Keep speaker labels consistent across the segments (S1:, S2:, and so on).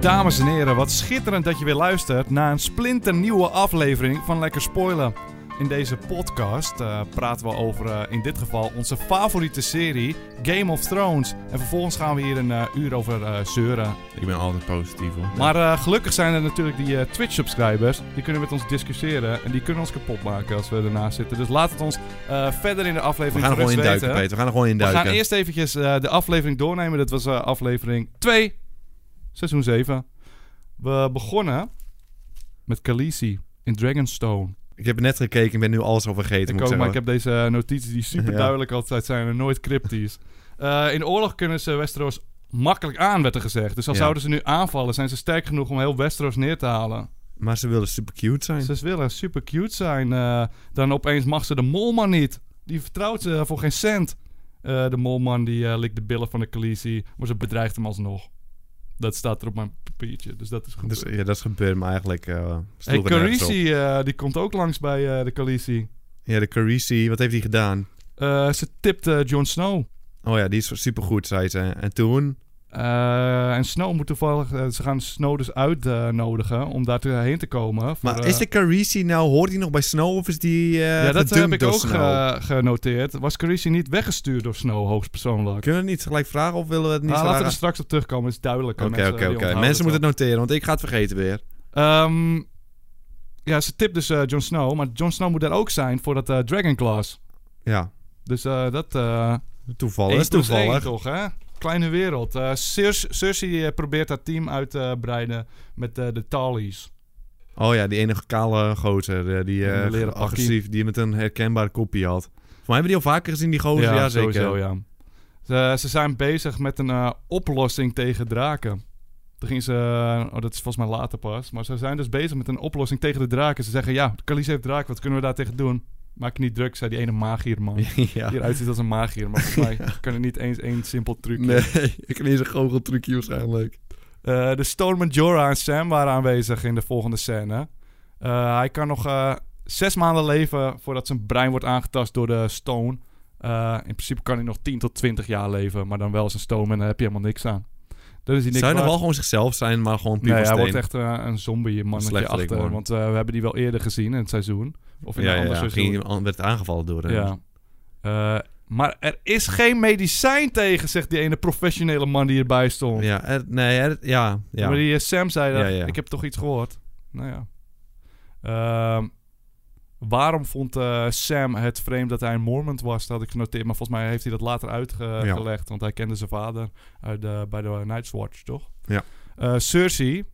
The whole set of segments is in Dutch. S1: Dames en heren, wat schitterend dat je weer luistert naar een splinternieuwe aflevering van Lekker Spoilen. In deze podcast eh, praten we over eh, in dit geval onze favoriete serie Game of Thrones. En vervolgens gaan we hier een eh, uur over eh, zeuren.
S2: Ik ben altijd positief hoor.
S1: Maar eh, gelukkig zijn er natuurlijk die eh, Twitch-subscribers. Die kunnen met ons discussiëren en die kunnen ons kapot maken als we ernaast zitten. Dus laat het ons eh, verder in de
S2: we
S1: aflevering
S2: gaan er gewoon
S1: gerust
S2: in duiken,
S1: weten.
S2: Peter. We gaan er gewoon in
S1: We
S2: duiken.
S1: gaan eerst eventjes eh, de aflevering doornemen. Dat was eh, aflevering 2, seizoen 7. We begonnen met Khaleesi in Dragonstone.
S2: Ik heb net gekeken en ben nu alles al vergeten.
S1: Ik
S2: moet
S1: ook,
S2: ik
S1: maar ik
S2: zeggen.
S1: heb deze notities die super
S2: Ja.
S1: duidelijk altijd zijn en nooit cryptisch. Eh, in de oorlog kunnen ze Westeros makkelijk aan, werd er gezegd. Dus al
S2: Ja.
S1: zouden ze nu aanvallen, zijn ze sterk genoeg om heel Westeros neer te halen.
S2: Maar ze wilden super cute zijn.
S1: Ze willen super cute zijn. eh, dan opeens mag ze de molman niet. Die vertrouwt ze voor geen cent. Eh, de molman die eh, likt de billen van de Khaleesi, maar ze bedreigt hem alsnog. Dat staat er op mijn papiertje, dus dat is goed.
S2: Dus, ja, dat is gebeurd, maar eigenlijk eh sloeg
S1: hey,
S2: het nergens op.
S1: Khaleesi, eh, die komt ook langs bij eh, de Khaleesi.
S2: Ja, de Carisi, wat heeft hij gedaan?
S1: Eh, ze tipt eh, Jon Snow.
S2: Oh ja, die is super goed, zei ze. En toen,
S1: Eh, en Snow moet toevallig... eh, ze gaan Snow dus uitnodigen om daar te, heen te komen. Voor,
S2: maar
S1: eh,
S2: is de Carisi nou, hoort hij nog bij Snow of is die eh
S1: ja, dat heb
S2: gedumpt
S1: ik
S2: door
S1: ook eh,
S2: Snow?
S1: ge- genoteerd. Was Khaleesi niet weggestuurd door Snow, hoogstpersoonlijk?
S2: Kunnen we het niet gelijk vragen of willen we het niet
S1: Nou, laten we er
S2: vragen?
S1: straks op terugkomen, is duidelijk. eh,
S2: Oké, oké, oké. Mensen moeten het noteren, want ik ga het vergeten weer.
S1: Ehm, ja, ze tip dus eh Jon Snow, maar Jon Snow moet daar ook zijn voor dat eh Dragon Class.
S2: Ja,
S1: Dus eh, dat... eh
S2: toevallig.
S1: één
S2: Dat is
S1: plus één
S2: toevallig.
S1: toch, hè? Kleine wereld. Eh Cersei, Cersei eh, probeert haar team uit te breiden met eh, de Tallies.
S2: Oh ja, die enige kale gozer. eh, Die
S1: Een
S2: eh
S1: leren pakkie.
S2: agressief, die met een herkenbaar kopje had. Voor mij hebben die al vaker gezien, die gozer. Oh, Ja, zeker.
S1: sowieso, ja. Ze, ze zijn bezig met een eh, oplossing tegen draken. Toen gingen ze... Oh, dat is volgens mij later pas. Maar ze zijn dus bezig met een oplossing tegen de draken. Ze zeggen, ja, Khaleesi heeft draken. Wat kunnen we daar tegen doen? Maak je niet druk, zei die ene magierman.
S2: ja.
S1: hieruit ziet als een magier. Maar volgens mij kan er niet eens één simpel trucje.
S2: Nee, ik heb niet eens een goocheltrucje waarschijnlijk.
S1: Eh, de Storm Jorah en Sam waren aanwezig in de volgende scène. Eh, hij kan nog eh, zes maanden leven voordat zijn brein wordt aangetast door de stone. Eh, in principe kan hij nog 10 tot 20 jaar leven, maar dan wel als een stone en daar heb je helemaal niks aan. Dat is hij niks
S2: Zou je nog
S1: waard.
S2: wel gewoon zichzelf zijn, maar gewoon puur
S1: Nee,
S2: van
S1: hij
S2: steen?
S1: wordt echt eh, een zombie mannetje
S2: Slechterik,
S1: achter.
S2: man.
S1: Want eh, we hebben die wel eerder gezien in het seizoen. Of in
S2: ja,
S1: een
S2: ja,
S1: ander
S2: ja.
S1: seizoen.
S2: Ging, iemand- werd aangevallen door hem.
S1: Ja. Eh, maar er is geen medicijn tegen, zegt die ene professionele man die erbij stond.
S2: Ja, er- nee, er- ja, ja.
S1: Maar die eh, Sam zei dat,
S2: Ja, ja.
S1: ik heb toch iets gehoord. Nou ja. Ehm, waarom vond eh, Sam het vreemd dat hij een Mormont was? Dat had ik genoteerd. Maar volgens mij heeft hij dat later
S2: Ja.
S1: uitgelegd. Want hij kende zijn vader uit de, bij de Night's Watch, toch?
S2: Ja.
S1: Eh, Cersei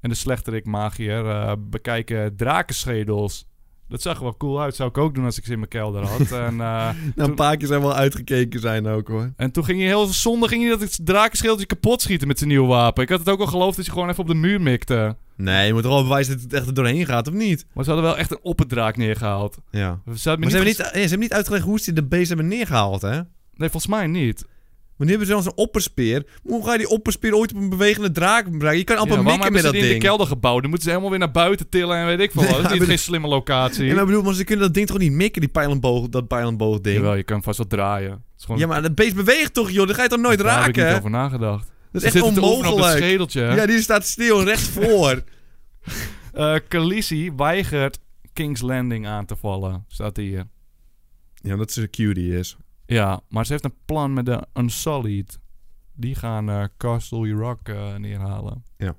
S1: en de slechterik magier eh, bekijken drakenschedels. Dat zag er wel cool uit. Zou ik ook doen als ik ze in mijn kelder had. en... eh,
S2: nou, een paar keer zijn wel uitgekeken zijn ook, hoor.
S1: en toen ging je heel zonde ging je dat het drakenscheeltje kapot schieten met zijn nieuwe wapen. Ik had het ook al geloofd dat je gewoon even op de muur mikte.
S2: Nee, je moet er wel bewijzen dat het echt er doorheen gaat, of niet?
S1: Maar ze hadden wel echt een opperdraak neergehaald.
S2: Ja.
S1: Ze hadden me
S2: Maar ze hebben,
S1: niet
S2: niet, ja, ze hebben niet uitgelegd hoe ze de beest hebben neergehaald, hè?
S1: ges- Nee, volgens mij niet.
S2: Want nu hebben ze zelfs een opperspeer. Maar Hoe ga je die opperspeer ooit op een bewegende draak brengen? Je kan amper
S1: waarom
S2: mikken
S1: hebben
S2: met
S1: ze
S2: dat
S1: die in
S2: ding.
S1: de kelder gebouwd? Dan moeten ze helemaal weer naar buiten tillen en weet ik veel wat.
S2: Ja,
S1: Dat is niet
S2: maar-
S1: geen slimme locatie.
S2: Ja, maar ik bedoel, maar ze kunnen dat ding toch niet mikken, die pijlenboog, dat pijlenboog ding?
S1: Jawel, je kan vast wel draaien. Het is gewoon...
S2: Ja, maar dat beest beweegt toch, joh? Dat ga je toch nooit
S1: Daar heb ik
S2: raken?
S1: niet over nagedacht.
S2: Dat
S1: Ze
S2: is echt
S1: zitten te oefenen op het
S2: onmogelijk.
S1: schedeltje. hè?
S2: Ja, die staat stil recht voor.
S1: Eh, Khaleesi weigert King's Landing aan te vallen, staat hier.
S2: ja, dat ze een cutie is.
S1: Ja, maar ze heeft een plan met de Unsullied. Die gaan eh, Castle Rock eh, neerhalen.
S2: Ja.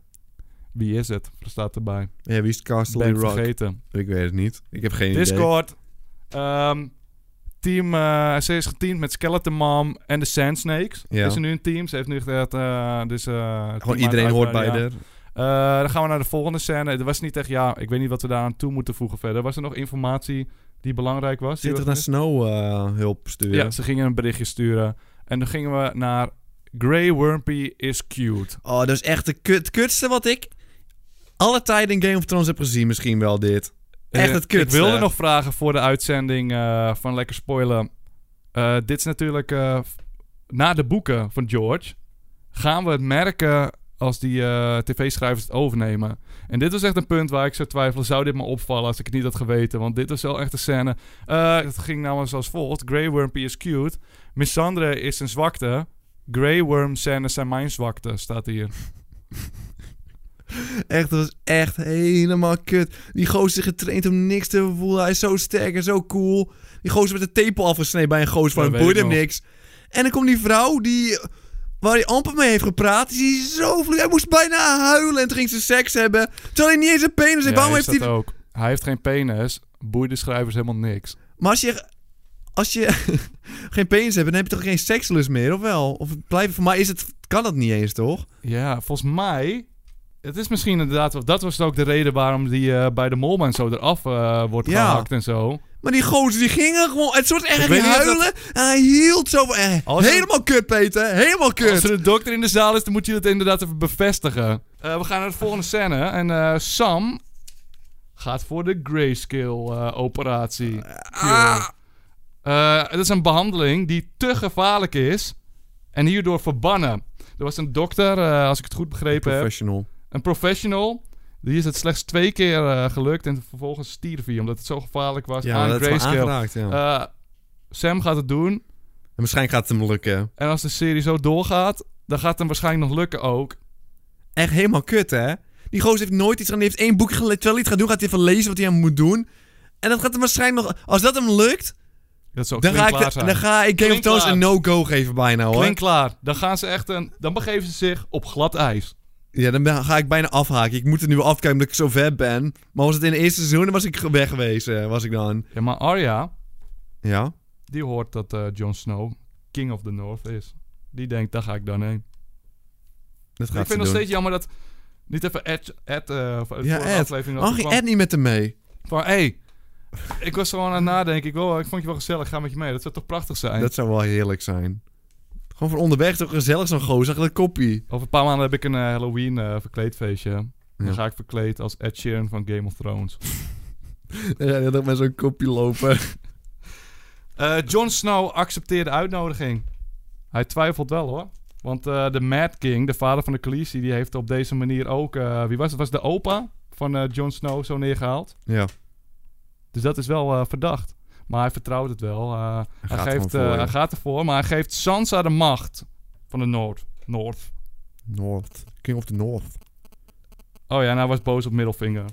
S1: Wie is het? Er staat erbij.
S2: Ja, wie is Castle
S1: ben
S2: Rock?
S1: vergeten.
S2: Ik weet het niet. Ik heb geen idee.
S1: Discord. Ehm, team, eh, ze is geteamd met Skeleton Mom en de Sand Snakes.
S2: Ja.
S1: Is er nu een team? Ze heeft nu echt... eh, dus, eh, het team
S2: Gewoon iedereen
S1: uit-
S2: hoort
S1: ja.
S2: bij de...
S1: Eh, dan gaan we naar de volgende scène. Er was niet echt... Ja, ik weet niet wat we daaraan toe moeten voegen verder. Was er nog informatie die belangrijk was? Die
S2: Zit er
S1: we-
S2: naar Snow eh, hulp sturen?
S1: Ja, ze gingen een berichtje sturen. En dan gingen we naar Grey Wormpy is cute.
S2: Oh, dat is echt de kut, kutste wat ik... Alle tijd in Game of Thrones heb gezien misschien wel dit. Echt
S1: Eh,
S2: het kutste.
S1: Ik wilde nog vragen voor de uitzending eh, van Lekker Spoilen. Eh, dit is natuurlijk eh, f- na de boeken van George. Gaan we het merken als die eh, tv-schrijvers het overnemen? En dit was echt een punt waar ik zou twijfelen. Zou dit me opvallen als ik het niet had geweten? Want dit was wel echt een scène. Eh, het ging namelijk zoals volgt. Grey Wormpy is cute. Missandre is een zwakte. Grey Worm scènes zijn mijn zwakte, staat hier.
S2: Echt, dat was echt helemaal kut. Die gozer is getraind om niks te voelen. Hij is zo sterk en zo cool. Die gozer werd de tepel afgesneden bij een gozer van
S1: Ja,
S2: hem.
S1: weet
S2: Boeide
S1: ik
S2: hem
S1: nog.
S2: niks. En dan komt die vrouw die... Waar hij amper mee heeft gepraat. Die is zo vloeiend. Hij moest bijna huilen. En toen ging ze seks hebben. Terwijl hij niet eens een penis heeft.
S1: Ja,
S2: Waarom
S1: is
S2: heeft
S1: dat
S2: hij...
S1: ook. Hij heeft geen penis. Boeit de schrijvers helemaal niks.
S2: Maar als je... Als je geen penis hebt, dan heb je toch geen sekslust meer, of wel? Of blijf, voor mij is het, kan dat niet eens, toch?
S1: Ja, volgens mij... Het is misschien inderdaad... wel- Dat was ook de reden waarom die eh, bij de Molman zo eraf eh, wordt
S2: Ja.
S1: gehakt en zo.
S2: Maar die gozer, die gingen gewoon... Het soort echt
S1: weet niet of
S2: huilen. En hij hield zo van... eh,
S1: Als er-
S2: helemaal kut, Peter. Helemaal kut.
S1: Als er een dokter in de zaal is, dan moet je dat inderdaad even bevestigen. Eh, we gaan naar de volgende scène. En eh, Sam gaat voor de eh, grayscale-operatie.
S2: Ah.
S1: Eh, het is een behandeling die te gevaarlijk is en hierdoor verbannen. Er was een dokter, eh, als ik het goed begrepen heb,
S2: Professional.
S1: een professional. Die is het slechts twee keer eh, gelukt en vervolgens stierf hij omdat het zo gevaarlijk was aan
S2: dat is
S1: grayscale.
S2: aangeraakt, ja.
S1: Eh, Sam gaat het doen.
S2: en waarschijnlijk gaat het hem lukken.
S1: En als de serie zo doorgaat, dan gaat het hem waarschijnlijk nog lukken ook.
S2: Echt helemaal kut, hè? Die gozer heeft nooit iets gedaan. Die heeft één boekje gelezen. Terwijl hij het gaat doen, gaat hij even lezen wat hij aan moet doen. En dat gaat hem waarschijnlijk nog... Als dat hem lukt,
S1: Dat zou
S2: dan ga, ik, de- dan ga ik Game of Thrones
S1: Klinkklaar.
S2: een no-go geven bijna, hoor.
S1: Klinkt klaar. Dan gaan ze echt een... Dan begeven ze zich op glad ijs.
S2: Ja, dan ben- ga ik bijna afhaken. Ik moet er nu afkijken omdat ik zo ver ben. Maar was het in het eerste seizoen, dan was ik weg geweest, eh, was ik dan.
S1: Ja, maar Arya,
S2: Ja?
S1: die hoort dat eh, Jon Snow King of the North is. Die denkt, daar ga ik dan heen.
S2: Dat
S1: ik vind
S2: gaat ze
S1: nog
S2: doen.
S1: steeds jammer dat... Niet even Ed... Ed eh, van de
S2: Ja,
S1: vorige
S2: Ed.
S1: aflevering dat
S2: Mag
S1: er
S2: je
S1: kwam.
S2: Ed niet met hem mee?
S1: Van, hey, ik was gewoon aan het nadenken. Ik, wil, ik vond je wel gezellig. Ga met je mee. Dat zou toch prachtig zijn?
S2: Dat zou wel heerlijk zijn. Gewoon van onderweg toch gezellig zo'n gozer, dat koppie.
S1: Over een paar maanden heb ik een eh, Halloween eh, verkleedfeestje. Dan
S2: Ja.
S1: ga ik verkleed als Ed Sheeran van Game of Thrones.
S2: Dan ga je toch met zo'n koppie lopen.
S1: Eh Jon Snow accepteerde de uitnodiging. Hij twijfelt wel hoor. Want eh, de Mad King, de vader van de Khaleesi, die heeft op deze manier ook... eh, wie was het? Was de opa van eh Jon Snow zo neergehaald.
S2: ja.
S1: Dus dat is wel eh, verdacht. Maar hij vertrouwt het wel. Eh, hij,
S2: gaat
S1: geeft,
S2: ervan voor,
S1: eh,
S2: ja.
S1: hij gaat ervoor, maar hij geeft Sansa de macht van de Noord. Noord.
S2: North. King of the North.
S1: Oh ja, en hij was boos op middelvinger.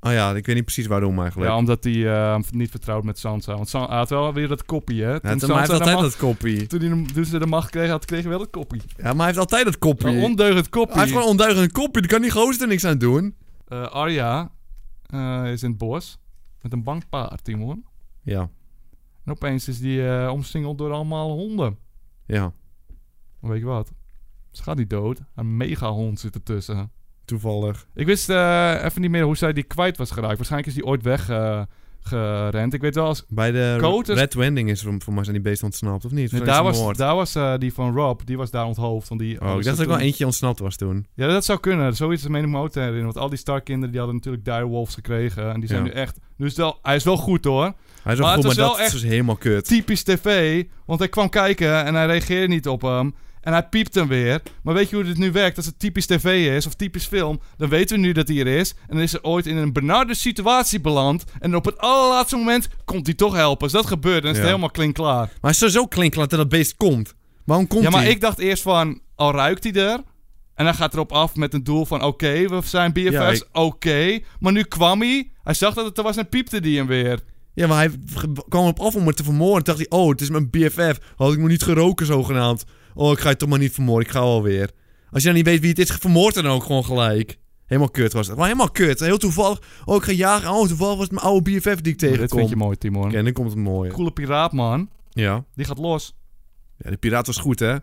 S2: Oh ja, ik weet niet precies waarom eigenlijk.
S1: Ja,
S2: Ja,
S1: omdat hij eh, niet vertrouwt met Sansa. Want Sansa hij had wel weer dat kopje, hè. Toen,
S2: het- maar
S1: Sansa
S2: hij heeft
S1: de
S2: altijd
S1: macht-
S2: dat koppie.
S1: toen, hij, toen ze de macht kregen, had kregen wel dat kopje.
S2: Ja, maar hij heeft altijd dat koppie.
S1: Een ondeugend kopje.
S2: Hij heeft gewoon onduidelijk een koppie, daar kan die gozer er niks aan doen.
S1: Eh, Arya eh, is in het bos met een bankpaard, Timon.
S2: Ja,
S1: En opeens is die eh, omsingeld door allemaal honden.
S2: ja.
S1: Maar weet je wat? Ze gaat niet dood. Een megahond zit ertussen.
S2: Toevallig.
S1: Ik wist eh, even niet meer hoe zij die kwijt was geraakt. Waarschijnlijk is die ooit weggerend. gerend. Ik weet wel als...
S2: Bij de
S1: Coat is-
S2: Red Wending is voor, voor mij zijn die beesten ontsnapt, of niet?
S1: Nee,
S2: Of zijn
S1: daar
S2: ze
S1: was,
S2: vermoord?
S1: daar was eh, die van Rob. Die was daar onthoofd. Want die,
S2: Oh, ik dacht dat er wel eentje ontsnapt was toen.
S1: Ja, dat zou kunnen. Zoiets is meen ik me ook te herinneren. Want al die Starkinderen die hadden natuurlijk direwolves gekregen. En die zijn
S2: Ja.
S1: nu echt... Dus wel, hij is wel goed hoor.
S2: Hij is
S1: Maar
S2: wel
S1: het
S2: goed,
S1: was
S2: maar
S1: wel
S2: dat
S1: echt-
S2: is helemaal kut.
S1: typisch tv. Want hij kwam kijken en hij reageerde niet op hem. En hij piept hem weer. Maar weet je hoe dit nu werkt? Als het typisch tv is of typisch film, dan weten we nu dat hij er is. En dan is er ooit in een benarde situatie beland. En op het allerlaatste moment komt hij toch helpen. Als dat gebeurt, dan is het
S2: Ja.
S1: helemaal klinkklaar.
S2: Maar hij is zo klinkklaar dat dat beest komt. Waarom komt
S1: Ja, maar
S2: hij?
S1: ik dacht eerst van, al ruikt hij er. En hij gaat erop af met een doel van, oké, we zijn BFF's,
S2: Ja, ik-
S1: oké. Maar nu kwam hij, hij zag dat het er was en piepte die hem weer.
S2: Ja, maar hij ge- kwam op af om het te vermoorden. Toen dacht hij, oh, het is mijn BFF. Had ik me niet geroken zogenaamd. Oh, ik ga je toch maar niet vermoorden. Ik ga alweer. Als je dan niet weet wie het is, vermoord dan ook gewoon gelijk. Helemaal kut was het. Maar helemaal kut. Heel toevallig. Oh, ik ga jagen. Oh, toevallig was het mijn oude BFF die
S1: Dit
S2: ik tegenkom.
S1: vind je
S2: Oké,
S1: mooi, Timon.
S2: en dan komt het mooie.
S1: Coole piraat, man.
S2: Ja.
S1: Die gaat los.
S2: Ja, die piraat was goed, hè?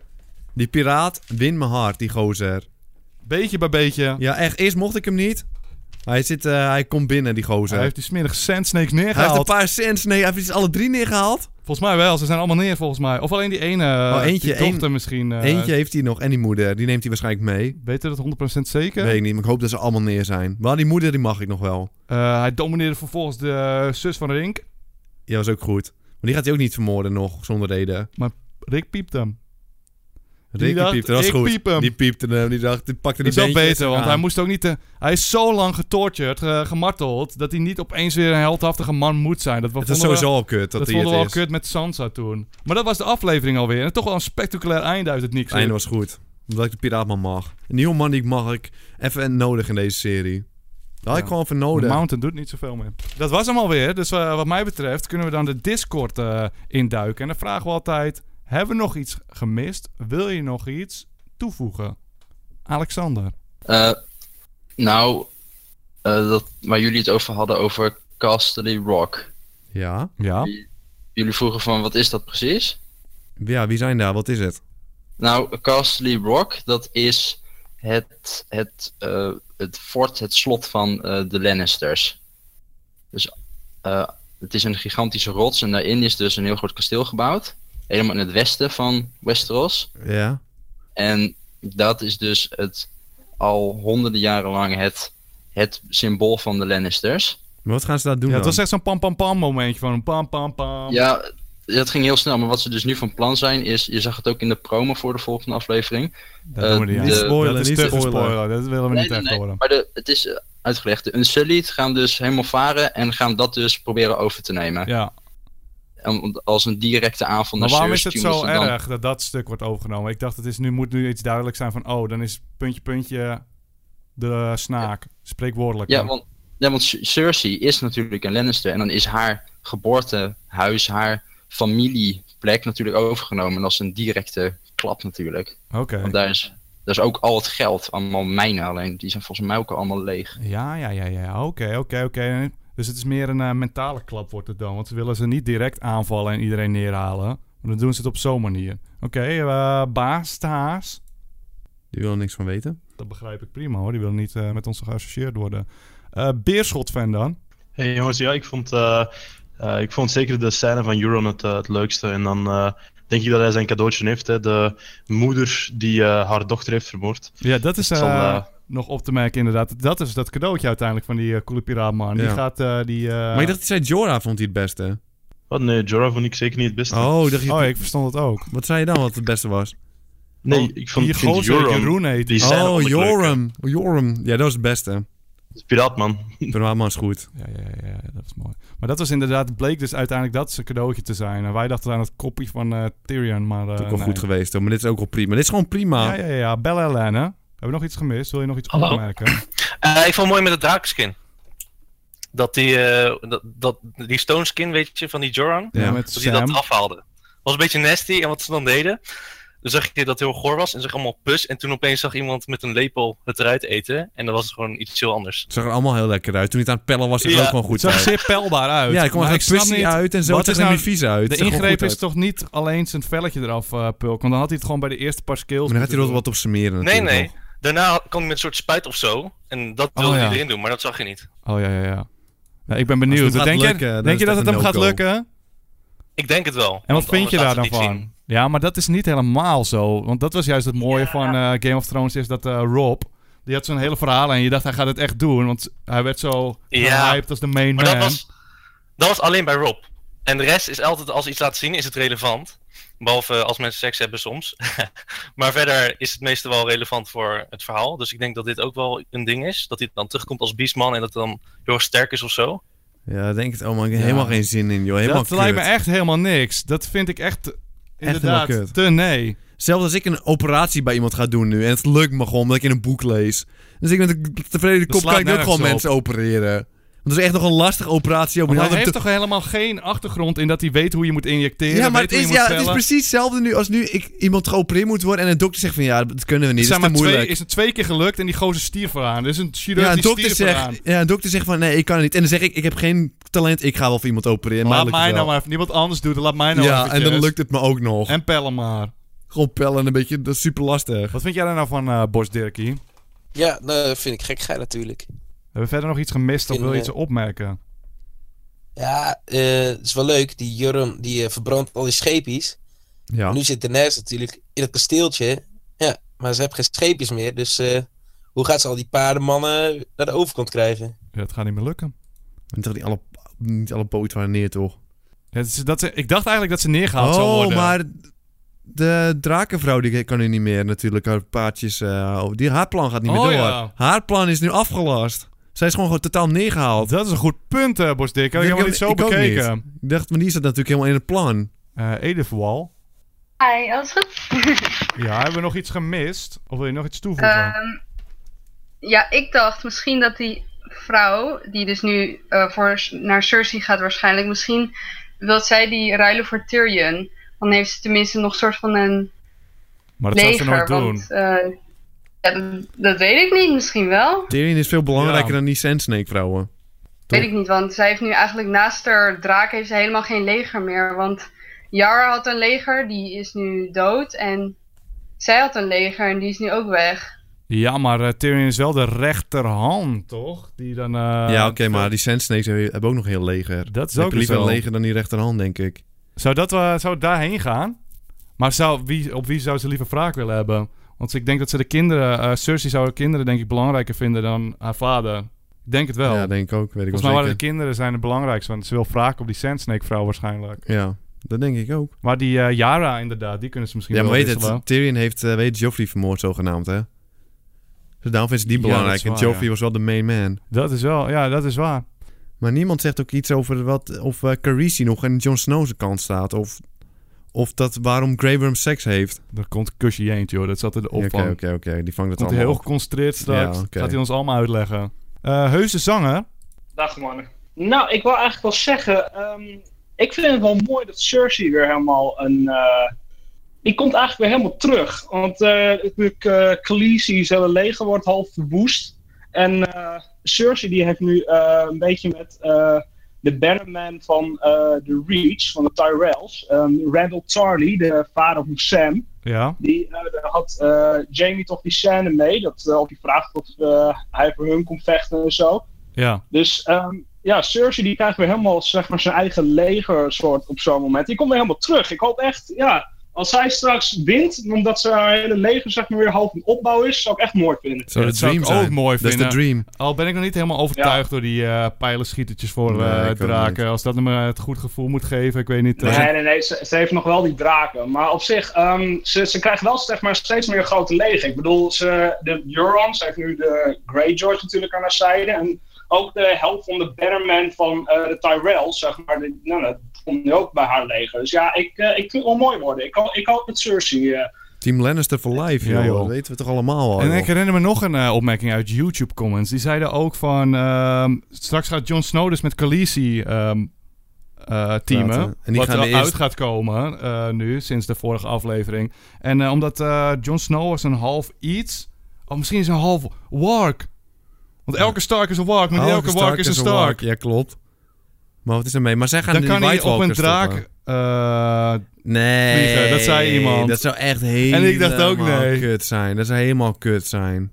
S2: Die piraat wint mijn hart, die gozer.
S1: Beetje bij beetje.
S2: Ja, echt. Eerst mocht ik hem niet. Hij, zit, eh, hij komt binnen, die gozer.
S1: Hij heeft die smerige sandsnakes
S2: Hij heeft
S1: neergehaald.
S2: een paar cents. Nee, hij heeft iets alle drie neergehaald.
S1: Volgens mij wel, ze zijn allemaal neer volgens mij. Of alleen die ene, eh,
S2: Oh, eentje,
S1: die dochter misschien. eh,
S2: Eentje heeft hij nog. En die moeder. Die neemt hij waarschijnlijk mee.
S1: Weet je dat 100% zeker?
S2: Weet ik niet, maar ik hoop dat ze allemaal neer zijn. Maar die moeder, die mag ik nog wel.
S1: Eh, hij domineerde vervolgens de eh, zus van Rink.
S2: Die was ook goed. Maar die gaat hij ook niet vermoorden nog, zonder reden.
S1: Rick piept hem. Die
S2: Ricky
S1: dacht,
S2: piepte, dat was
S1: ik
S2: goed.
S1: piep hem.
S2: Die piepte hem, die dacht, die pakte
S1: Dat
S2: die
S1: is wel
S2: beentjes
S1: beter, want
S2: aan.
S1: hij moest ook niet... te- hij is zo lang getortured, ge- gemarteld... dat hij niet opeens weer een heldhaftige man moet zijn. Dat, we
S2: Het is
S1: vonden we-
S2: sowieso al kut dat,
S1: dat
S2: hij het
S1: vonden we al
S2: is.
S1: kut met Sansa toen. Maar dat was de aflevering alweer. En toch wel een spectaculair einde uit het niks.
S2: Het einde was goed. Omdat ik de piraatman mag. Een nieuwe man die ik mag, ik even nodig in deze serie. Daar had ik
S1: Ja.
S2: gewoon voor
S1: De
S2: nodig.
S1: Mountain doet niet zoveel meer. Dat was hem alweer. Dus eh, wat mij betreft kunnen we dan de Discord eh, induiken. En dan vragen we altijd... Hebben we nog iets gemist? Wil je nog iets toevoegen? Alexander.
S3: Eh, nou, eh, dat, waar jullie het over hadden, over Casterly Rock.
S2: Ja?
S1: Ja?
S3: Jullie vroegen van, wat is dat precies?
S2: Ja, wie zijn daar? Wat is het?
S3: Nou, Castle Rock, dat is het, het, eh, het fort, het slot van eh, de Lannisters. Dus eh, het is een gigantische rots en daarin is dus een heel groot kasteel gebouwd. Helemaal in het westen van Westeros.
S2: Ja?
S3: En dat is dus het, al honderden jaren lang het, het symbool van de Lannisters.
S2: Maar wat gaan ze daar doen
S1: ja het
S2: dan?
S1: was echt zo'n pam-pam-pam momentje van een pam-pam-pam.
S3: Ja, dat ging heel snel, maar wat ze dus nu van plan zijn is... Je zag het ook in de promo voor de volgende aflevering.
S1: dat
S3: eh,
S1: doen we niet. aan.
S3: de-
S2: spoilen,
S1: dat is
S2: niet
S1: te
S2: spoilen.
S1: gespoilerd. Dat willen we
S3: Nee,
S1: niet
S3: nee,
S1: echt
S3: nee,
S1: horen.
S3: Maar de, het is eh, uitgelegd. De Unsullied gaan dus helemaal varen en gaan dat dus proberen over te nemen.
S1: Ja.
S3: Om- Als een directe aanval
S1: Maar
S3: naar
S1: waarom is
S3: Cersei.
S1: het zo
S3: moesten dan-
S1: erg dat dat stuk wordt overgenomen? Ik dacht, het is nu, moet nu iets duidelijk zijn van... Oh, dan is puntje, puntje de snaak. Spreekwoordelijk.
S3: Ja,
S1: dan.
S3: want, ja, want Ce- Cersei is natuurlijk een Lannister en dan is haar geboortehuis, haar familieplek natuurlijk overgenomen. En dat is een directe klap natuurlijk.
S1: Oké.
S3: Want daar is, daar is ook al het geld, allemaal mijnen alleen. Die zijn volgens mij ook allemaal leeg.
S1: Ja, ja, ja, ja. Oké, oké, oké. Dus het is meer een eh, mentale klap wordt het dan. Want ze willen ze niet direct aanvallen en iedereen neerhalen. Maar dan doen ze het op zo'n manier. Oké, eh, baas Taas.
S2: Die wil er niks van weten.
S1: Dat begrijp ik prima hoor. Die willen niet eh, met ons geassocieerd worden. Eh Beerschot-fan dan.
S4: Hey jongens, ja, ik vond, eh, eh, ik vond zeker de scène van Euron het, eh, het leukste. En dan eh, denk ik dat hij zijn cadeautje heeft, hè, de moeder die eh, haar dochter heeft vermoord.
S1: Ja, dat is
S4: Het zal,
S1: eh,
S4: eh,
S1: nog op te merken inderdaad. Dat is dat cadeautje uiteindelijk van die eh, coole piraatman. Die
S2: Ja.
S1: gaat eh, die... eh,
S2: Maar ik dacht, die zei Jorah vond hij het beste.
S4: Wat? Nee, Jorah vond ik zeker niet het beste.
S2: Oh, dacht je,
S1: Oh, ik verstond het ook.
S2: wat zei je dan wat het beste was?
S4: nee, ik vond,
S1: die
S4: ik vind
S1: gozer
S4: Euron,
S1: Jeroen heet.
S4: die scène
S2: Oh,
S4: vond ik leuk, hè.
S2: Joram. Joram. Ja, dat was het beste.
S4: De Piraatman.
S2: Piraatman is goed.
S1: Ja, ja, ja, ja, dat is mooi. Maar dat was inderdaad, bleek dus uiteindelijk dat zijn cadeautje te zijn. En wij dachten aan het kopje van eh, Tyrion, maar... eh
S2: Dat is ook wel
S1: nee.
S2: goed geweest, hoor. maar dit is ook wel prima. Dit is gewoon prima.
S1: Ja, ja, ja, ja. Bel Helene. Hebben we nog iets gemist? Wil je nog iets
S5: Hallo.
S1: opmerken?
S5: Eh, ik vond het mooi met het draakskin. Dat die, eh, dat, dat, die stone skin, weet je, van die Joran.
S1: Ja,
S2: Ja.
S1: met
S5: Dat die dat
S1: Sam.
S5: afhaalde. Was een beetje nasty. En wat ze dan deden. Dan zag je dat het heel goor was. En zag allemaal pus. En toen opeens zag iemand met een lepel het eruit eten. En dan was het gewoon iets heel anders.
S2: Het zag er allemaal heel lekker uit. Toen hij het aan het pellen was, zag het
S5: Ja.
S2: ook gewoon
S1: Het
S2: goed
S1: zag
S2: uit.
S1: zeer pelbaar uit.
S2: Ja, er kwam
S1: Maar
S2: echt
S1: ik snap
S2: pussy
S1: niet-
S2: uit en zo.
S1: wat
S2: Het
S1: is
S2: zag er
S1: nou
S2: niet vies
S1: De
S2: uit. Het zag er gewoon
S1: ingreep
S2: goed
S1: is
S2: uit.
S1: toch niet alleen zijn velletje eraf eh pulken? Want dan had hij het gewoon bij de eerste paar skills
S2: Maar dan gaat hij
S1: moeten
S2: er wel
S1: doen.
S2: wat op smeren
S5: Nee,
S2: natuurlijk
S5: nee.
S2: nog.
S5: Daarna kwam hij met een soort spuit of zo. En dat wilde
S1: Oh,
S5: hij
S1: ja.
S5: erin doen. Maar dat zag je niet.
S1: Oh, ja, ja, ja. Nou, ik ben
S2: Als
S1: benieuwd.
S2: het hem
S1: denk
S2: gaat
S1: je,
S2: lukken, dan
S1: denk je
S2: is
S1: dat het
S2: het een
S1: hem gaat
S2: no-go.
S1: lukken?
S5: Ik denk het wel.
S1: En wat vind je daar dan
S5: niet
S1: van? Ja, maar dat is niet helemaal zo. Want dat was juist het mooie van eh, Game of Thrones, is dat eh, Rob, die had zo'n hele verhaal en je dacht hij gaat het echt doen, want hij werd zo
S5: Ja.
S1: gehyped als de main
S5: Maar
S1: man.
S5: dat was, dat was alleen bij Rob. En de rest is altijd, als ze iets laat zien, is het relevant. Behalve eh, als mensen seks hebben soms. maar verder is het meestal wel relevant voor het verhaal. Dus ik denk dat dit ook wel een ding is. Dat hij dan terugkomt als beastman en dat het dan heel erg sterk is of zo.
S2: Ja, ik denk het. Oh man, ik heb helemaal geen zin in, joh. Helemaal
S1: dat lijkt me
S2: kut.
S1: echt helemaal niks. Dat vind ik echt, inderdaad
S2: helemaal kut.
S1: te nee.
S2: Zelfs als ik een operatie bij iemand ga doen nu en het lukt me gewoon omdat ik in een boek lees. Dus ik met een tevreden kop
S1: slaat
S2: kan ik ook
S1: nergens
S2: gewoon
S1: op.
S2: mensen opereren. Want dat is echt nog een lastige operatie. Ook.
S1: Want
S2: Je
S1: hij
S2: had hem
S1: heeft
S2: te-
S1: toch helemaal geen achtergrond in dat hij weet hoe je moet injecteren,
S2: ja, maar
S1: weet
S2: het
S1: hoe
S2: is,
S1: je moet
S2: ja, het is
S1: vellen.
S2: precies hetzelfde nu als nu ik, iemand geopereerd moet worden en een dokter zegt van ja, dat kunnen we
S1: Er
S2: niet, dat
S1: zijn
S2: is te
S1: maar twee,
S2: moeilijk.
S1: is het twee keer gelukt en die gozer stierf eraan. Er is een chirurg
S2: Ja, een
S1: die
S2: dokter
S1: stierf eraan.
S2: zegt, ja, een dokter zegt van nee, ik kan het niet. En dan zeg ik, ik heb geen talent, ik ga wel voor iemand opereren. Maar
S1: Laat
S2: lukt het
S1: mij nou
S2: wel.
S1: maar even, niemand anders doet het, laat mij nou
S2: Ja,
S1: eventjes.
S2: en dan lukt het me ook nog.
S1: En pellen maar.
S2: Gewoon pellen, een beetje, dat is super lastig.
S1: Wat vind jij daar nou van, eh Bos Dirkie?
S6: Ja, nou, dat vind ik gek gij natuurlijk.
S1: Hebben we verder nog iets gemist of
S6: Vind,
S1: wil je
S6: eh,
S1: iets opmerken?
S6: Ja, eh, het is wel leuk. Die Jurm die eh, verbrandt al die scheepjes.
S2: Ja.
S6: Nu zit Daenerys natuurlijk in het kasteeltje. Ja, maar ze hebben geen scheepjes meer. Dus eh, hoe gaat ze al die paardenmannen naar de overkant krijgen?
S1: Ja, dat gaat niet meer lukken.
S2: En toch die alle, niet alle poot waren neer, toch?
S1: Ja, dat is- dat ze- ik dacht eigenlijk dat ze neergehaald zou
S2: oh,
S1: worden.
S2: maar de drakenvrouw die kan nu niet meer natuurlijk haar paardjes... eh, oh, die, haar plan gaat niet meer
S1: Oh,
S2: door.
S1: ja.
S2: Haar plan is nu afgelast. Zij is gewoon gewoon totaal neergehaald.
S1: Dat is een goed punt, eh Bos Dirkie. Had Ik
S2: Ik
S1: heb
S2: heb-
S1: helemaal niet zo
S2: ik ook
S1: bekeken.
S2: Ik dacht, maar die zat natuurlijk helemaal in het plan.
S1: Eh Edith Wall.
S7: Hi, alles goed?
S1: Ja, hebben we nog iets gemist? Of wil je nog iets toevoegen?
S7: Ehm, ja, ik dacht misschien dat die vrouw, die dus nu eh, voor, naar Cersei gaat waarschijnlijk, misschien wil zij die ruilen voor Tyrion. Dan heeft ze tenminste nog een soort van een
S1: maar dat zou
S7: leger.
S1: ze nooit doen.
S7: want, eh, ja, dat, dat weet ik niet, misschien wel.
S2: Tyrion is veel belangrijker
S1: Ja.
S2: dan die Sand Snake vrouwen.
S7: Weet ik niet, want zij heeft nu eigenlijk naast haar draak heeft ze helemaal geen leger meer. Want Yara had een leger, die is nu dood. En zij had een leger en die is nu ook weg.
S1: Ja, maar eh, Tyrion is wel de rechterhand, toch? Die dan... eh,
S2: ja, oké, maar die Sand Snakes hebben hebben ook nog heel leger.
S1: Dat is
S2: Ze
S1: ook
S2: hebben liever
S1: zo.
S2: een leger dan die rechterhand, denk ik.
S1: Zou, dat, eh, zou het daarheen gaan? Maar zou, wie, op wie zou ze liever wraak willen hebben? Want ik denk dat ze de kinderen... eh Cersei zou de kinderen denk ik belangrijker vinden dan haar vader. Ik denk het wel.
S2: Ja, denk ik ook. Weet ik
S1: Volgens mij
S2: wel
S1: waren de
S2: zeker.
S1: kinderen zijn het belangrijkste. Want ze wil wraak op die Sandsnake vrouw waarschijnlijk.
S2: Ja, dat denk ik ook.
S1: Maar die eh Yara inderdaad, die kunnen ze misschien
S2: Ja, maar
S1: wel
S2: weet
S1: wisselen.
S2: het, Tyrion heeft eh, weet Joffrey vermoord zogenaamd, hè? Dus daarom vindt ze die
S1: Ja,
S2: belangrijk.
S1: dat is waar,
S2: en Joffrey
S1: ja.
S2: was wel de main man.
S1: Dat is wel, ja, dat is waar.
S2: Maar niemand zegt ook iets over wat, of eh Khaleesi nog aan Jon Snow's kant staat. Of, of dat waarom Grey Worm seks heeft.
S1: Er komt kusje eentje, hoor. Dat zat in de
S2: Ja, Oké,
S1: opvang.
S2: oké, oké. Die vangt
S1: Komt
S2: dat
S1: hij
S2: allemaal
S1: heel
S2: op.
S1: geconcentreerd straks.
S2: Ja, oké.
S1: Gaat hij ons allemaal uitleggen. Eh heuse zanger.
S8: Dag mannen. Nou, ik wil eigenlijk wel zeggen, ehm, ik vind het wel mooi dat Cersei weer helemaal een... eh, die komt eigenlijk weer helemaal terug. Want eh natuurlijk, eh Khaleesi's hele leger wordt half verwoest. En eh, Cersei die heeft nu eh, een beetje met eh, de bannerman van eh de Reach, van de Tyrells, ehm, Randall Tarly, de vader van Sam.
S1: Ja.
S8: Die eh, daar had eh, Jamie toch die scène mee. Dat, eh, of die vraagt of eh, hij voor hun komt vechten en zo.
S1: Ja.
S8: Dus ehm, ja, Cersei die krijgt weer helemaal zeg maar, zijn eigen leger soort op zo'n moment. Die komt weer helemaal terug. Ik hoop echt, ja, als zij straks wint, omdat ze haar hele leger zeg maar, weer half in opbouw is, zou ik echt mooi vinden.
S2: Zou
S1: Ja,
S2: de
S1: dat zou
S2: dream
S1: ik ook
S2: zijn.
S1: mooi
S2: Dat is de
S1: vinden.
S2: dream.
S1: Al Oh, ben ik nog niet helemaal overtuigd door die eh pijlenschietertjes voor
S2: Nee,
S1: eh,
S2: ik ook
S1: draken. Als dat me het goed gevoel moet geven, ik weet niet. eh.
S8: Nee, nee, nee, ze, ze heeft nog wel die draken. Maar op zich, ehm, ze, ze krijgt wel zeg maar, steeds meer een grote leger. Ik bedoel, ze, de Euron, ze heeft nu de Greyjoy natuurlijk aan haar zijde. En ook de helft van de Bannerman van eh, de Tyrell, zeg maar. die- nou, dat komt nu ook bij haar leger. Dus ja, ik, eh, ik vind het wel mooi worden. Ik, ho- ik hoop dat Cersei... eh,
S2: Team Lannister for life,
S1: Ja,
S2: joh.
S1: joh.
S2: Dat weten we toch allemaal al.
S1: En
S2: Oh, joh.
S1: ik herinner me nog een eh, opmerking uit YouTube comments. Die zeiden ook van... ehm, straks gaat Jon Snow dus met Khaleesi ehm, eh, teamen.
S2: Praten. En die
S1: wat
S2: gaan
S1: er
S2: de eerste-
S1: uit gaat komen eh, nu, sinds de vorige aflevering. En eh, omdat eh Jon Snow was een half iets... Of misschien is hij een half wark. Want elke Stark is een wark, maar niet elke,
S2: Stark
S1: wark is een Stark.
S2: Stark. Ja, klopt. Maar wat is er mee? Maar zij gaan
S1: Dan
S2: die
S1: kan hij
S2: White
S1: op een
S2: Walkers
S1: draak...
S2: stoppen.
S1: eh,
S2: Nee.
S1: vliegen. Dat zei iemand.
S2: Dat zou echt helemaal
S1: dacht ook, nee.
S2: kut zijn. Dat zou helemaal kut zijn.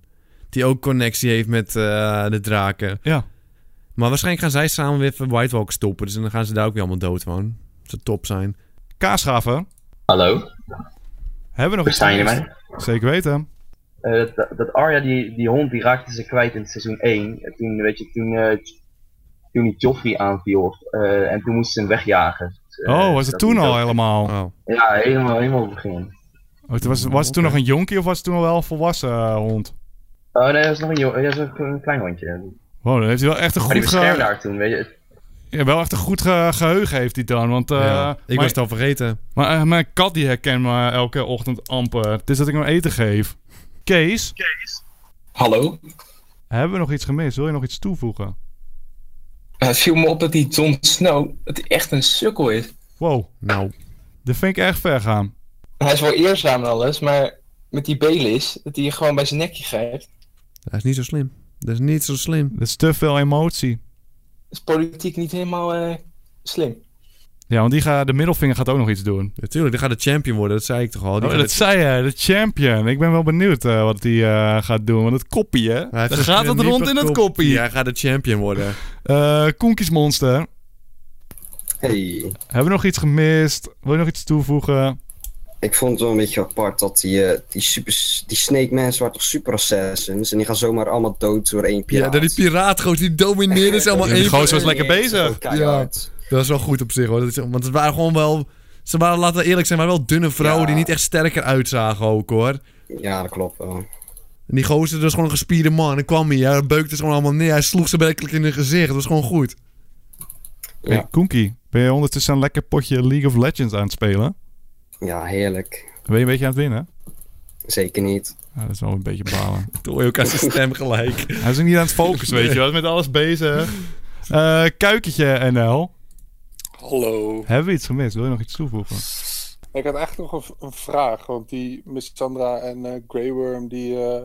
S2: Die ook connectie heeft met eh, de draken.
S1: Ja.
S2: Maar waarschijnlijk gaan zij samen weer voor White Walkers stoppen. Dus dan gaan ze daar ook weer allemaal dood van. Dat zou top zijn.
S1: Kaasgaven.
S3: Hallo,
S1: Hebben we nog iets?
S9: Verstaan jullie mij?
S1: Zeker weten.
S9: Eh, dat, dat Arya, die, die hond, die raakte ze kwijt in het seizoen 1. En Toen, weet je, toen, eh, toen die Joffrey aanviel. eh, en toen moesten ze hem wegjagen. Dus, eh,
S1: Oh, was het toen
S9: die-
S1: al helemaal?
S2: Oh.
S9: Ja, helemaal, helemaal op het begin.
S1: Oh, het was, was het toen
S2: Oké.
S1: nog een jonkie of was het toen al wel een volwassen eh, hond?
S9: Oh nee, dat is nog een, jo- dat is nog een klein hondje.
S1: Wow, dan heeft hij wel echt een
S9: Maar die
S1: goed,
S9: beschermde
S1: ge-
S9: haar toen, weet je.
S1: ja, wel echt een goed ge- geheugen heeft hij dan. Want eh,
S2: Ja, ik
S1: mijn,
S2: was het al vergeten.
S1: maar, eh, mijn kat die herkent me elke ochtend amper. Het is dat ik hem eten geef. Kees,
S10: Hallo.
S1: hebben we nog iets gemist? Wil je nog iets toevoegen?
S10: Eh, Het viel me op dat die Jon Snow dat hij echt een sukkel is.
S1: Wow,
S2: Nou,
S1: dat vind ik echt ver gaan.
S10: Hij is wel eerzaam en alles, maar met die Belis, dat hij je gewoon bij zijn nekje grijpt.
S2: dat is niet zo slim. Dat is niet zo slim.
S1: Dat is te veel emotie.
S10: Is politiek niet helemaal eh, slim.
S1: Ja, want die ga, de middelvinger gaat ook nog iets doen.
S2: Natuurlijk, die gaat de champion worden. Dat zei ik toch al. Die
S1: Oh,
S2: gaat
S1: dat
S2: de-
S1: zei hij, de champion. Ik ben wel benieuwd eh, wat hij eh, gaat doen. Want het koppie, hè?
S2: Hij heeft dus
S1: Dan
S2: een
S1: gaat het rond in het
S2: knippelkop-
S1: koppie.
S2: Ja, hij gaat de champion worden.
S1: Eh Koenkiesmonster.
S11: Hey,
S1: Hebben we nog iets gemist? Wil je nog iets toevoegen?
S11: ik vond het wel een beetje apart dat die, eh, die, super, die Snake Mensen waren toch super assassins en die gaan zomaar allemaal dood door één
S2: Ja,
S11: piraat.
S2: dat die piraat gewoon, die domineerde is allemaal
S1: Ja,
S2: één
S1: die gozer was
S2: voor één.
S1: lekker bezig.
S11: Keihard.
S2: Dat is wel goed op zich hoor. Dat is, want het waren gewoon wel. Ze waren, laten we eerlijk zijn, waren wel dunne vrouwen
S11: Ja.
S2: die niet echt sterker uitzagen ook hoor.
S11: Ja. dat klopt wel.
S2: En die gozer, dat was gewoon een gespierde man. En kwam hij, hij beukte ze gewoon allemaal neer. Hij sloeg ze werkelijk in hun gezicht. Dat was gewoon goed.
S1: Hey, Koenkie, ben je ondertussen een lekker potje League of Legends aan het spelen?
S11: Ja, heerlijk.
S1: Ben je een beetje aan het winnen?
S11: Zeker niet.
S1: Ja, dat is wel een beetje balen.
S2: Toen hoor je ook aan zijn stem gelijk.
S1: Hij is ook niet aan het focussen, weet je wel. Hij is met alles bezig. Eh Kuikentje NL.
S12: Hallo.
S1: Hebben we iets gemist? Wil je nog iets toevoegen?
S12: Ik had echt nog een, v- een vraag, want die Miss Sandra en eh Grey Worm, die, eh,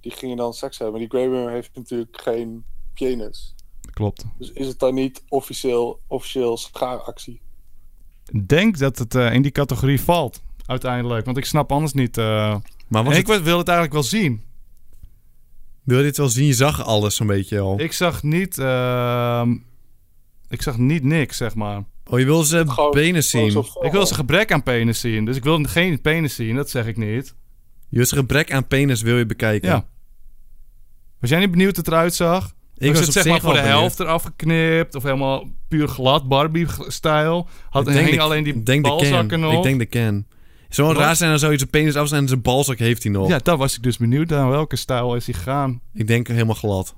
S12: die gingen dan seks hebben. Die Grey Worm heeft natuurlijk geen penis.
S1: Klopt.
S12: Dus is het dan niet officieel, officieel schaaractie?
S1: Denk dat het eh, in die categorie valt, uiteindelijk. Want ik snap anders niet... eh,
S2: maar
S1: ik wil het eigenlijk wel zien.
S2: Wil je dit wel zien? Je zag alles zo'n beetje al.
S1: Ik zag niet... ehm, ik zag niet niks, zeg maar.
S2: Oh, je wil ze penis zien?
S1: Ik wil ze gebrek aan penis zien. Dus ik wil geen penis zien, dat zeg ik niet.
S2: Je is gebrek aan penis wil je bekijken.
S1: Ja. Was jij niet benieuwd hoe het eruit zag?
S2: Ik
S1: was Dus het
S2: was op
S1: zeg maar
S2: zich
S1: voor de
S2: wel benieuwd.
S1: helft eraf geknipt of helemaal puur glad Barbie-stijl. Had
S2: Ik
S1: hing
S2: de-
S1: alleen
S2: ik
S1: die
S2: denk de
S1: balzakken
S2: can.
S1: nog.
S2: Ik denk de can. Het zou wel
S1: Wat?
S2: raar zijn als zou je zijn penis afsnijden en zijn balzak heeft hij nog.
S1: Ja, daar was ik dus benieuwd naar. Welke stijl is hij gegaan?
S2: Ik denk helemaal glad.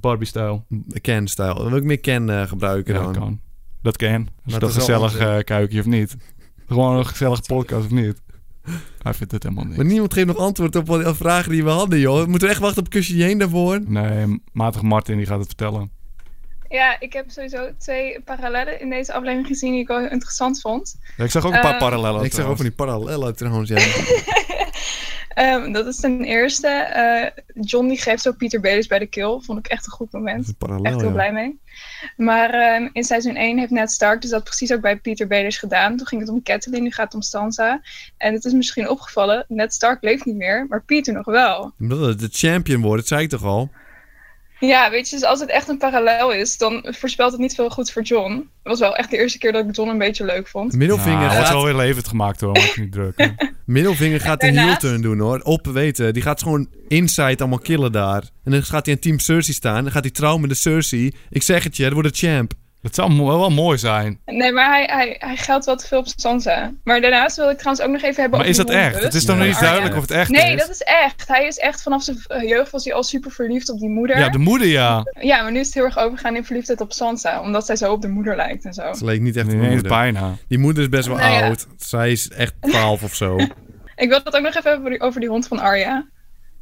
S1: Barbie-stijl.
S2: Can-stijl. Dan wil ik meer can eh, gebruiken
S1: Ja,
S2: dan.
S1: dat kan. Dat kan. Is dat
S2: Maar het is wel
S1: gezellig eh kuikje of niet? Gewoon een gezellig podcast of niet? Hij vindt het helemaal niet.
S2: Maar niemand geeft nog antwoord op wat- op vragen die we hadden, joh. We moeten echt wachten op kusje heen daarvoor.
S1: Nee, matig Martin die gaat het vertellen.
S13: Ja, ik heb sowieso twee parallellen in deze aflevering gezien die ik wel heel interessant vond.
S1: Ja, ik zag ook een paar
S13: Eh,
S1: parallellen.
S2: Ik zag ook van die parallellen trouwens, ja.
S13: Ehm, dat is ten eerste, eh, John die geeft zo Pieter Belis bij de keel. Vond ik echt een goed moment.
S2: parallel,
S13: echt heel
S2: ja.
S13: blij mee. Maar ehm, in seizoen 1 heeft Ned Stark dus dat precies ook bij Pieter Belis gedaan. Toen ging het om Catelyn, nu gaat het om Sansa. En het is misschien opgevallen, Ned Stark leeft niet meer, maar Pieter nog wel.
S2: Omdat het de champion wordt, dat zei ik toch al.
S13: Ja, weet je, dus als het echt een parallel is, dan voorspelt het niet veel goed voor John. Het was wel echt de eerste keer dat ik John een beetje leuk vond.
S2: Middelvinger
S1: Ja, Nou, wordt
S2: gaat-
S1: wel weer levend gemaakt hoor, maak je niet druk. hè.
S2: Middelvinger gaat een heel
S13: Daarnaast-
S2: turn doen, hoor. Op weten. Die gaat gewoon inside allemaal killen daar. En dan gaat hij in Team Cersei staan. Dan gaat hij trouwen met de Cersei. Ik zeg het je, dat wordt een champ.
S1: Dat zou wel, wel mooi zijn.
S13: Nee, maar hij, hij, hij geldt wel te veel op Sansa. Maar daarnaast wil ik trouwens ook nog even hebben
S1: Maar
S13: over
S1: is dat
S13: die
S1: echt?
S13: honderd.
S1: Het is toch nog niet duidelijk of het echt
S13: nee,
S1: is?
S13: dat is echt. Hij is echt vanaf zijn eh, jeugd was hij al super verliefd op die moeder.
S1: Ja, de moeder ja.
S13: Ja, maar nu is het heel erg overgegaan in verliefdheid op Sansa. Omdat zij zo op de moeder lijkt en zo.
S2: Ze leek niet echt op
S1: Nee,
S2: mijn moeder.
S1: bijna.
S2: Die moeder is best wel
S13: Nou ja.
S2: oud. Zij is echt 12 of zo.
S13: Ik wil het ook nog even hebben over die, over die hond van Arya.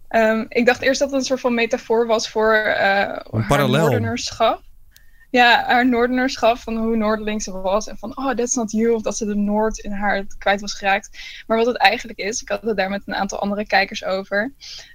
S13: Ehm, ik dacht eerst dat het een soort van metafoor was voor eh
S2: Een
S13: haar
S2: parallel.
S13: noordenerschap. Ja, haar noordenerschap, van hoe noorderling ze was. En van, oh, that's not you. Of dat ze de noord in haar kwijt was geraakt. Maar wat het eigenlijk is, ik had het daar met een aantal andere kijkers over.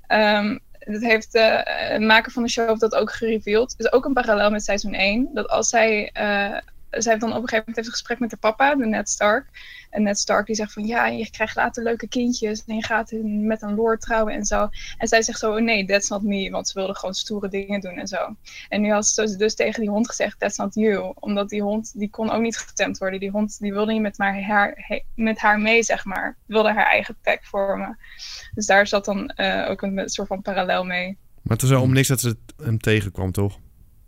S13: Ehm dat heeft de eh, maker van de show dat ook gereveeld. Is ook een parallel met seizoen 1. Dat als zij... eh, zij heeft dan op een gegeven moment heeft een gesprek met haar papa, de Ned Stark. En Ned Stark die zegt van ja, je krijgt later leuke kindjes en je gaat in- met een lord trouwen en zo. En zij zegt zo, oh nee, that's not me, want ze wilde gewoon stoere dingen doen en zo. En nu had ze dus tegen die hond gezegd, that's not you. Omdat die hond, die kon ook niet getemd worden. Die hond, die wilde niet met, maar haar, he- met haar mee, zeg maar. Wilde haar eigen pack vormen. Dus daar zat dan eh, ook een soort van parallel mee.
S2: Maar het was wel om niks dat ze het- hem tegenkwam, toch?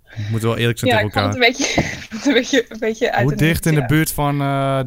S2: We moeten wel eerlijk zijn
S13: ja, ik
S2: tegen
S13: vond
S2: elkaar.
S13: het een beetje, ik vond het een beetje, een beetje uit
S1: Hoe
S13: de
S1: dicht in de
S13: ja.
S1: buurt van, eh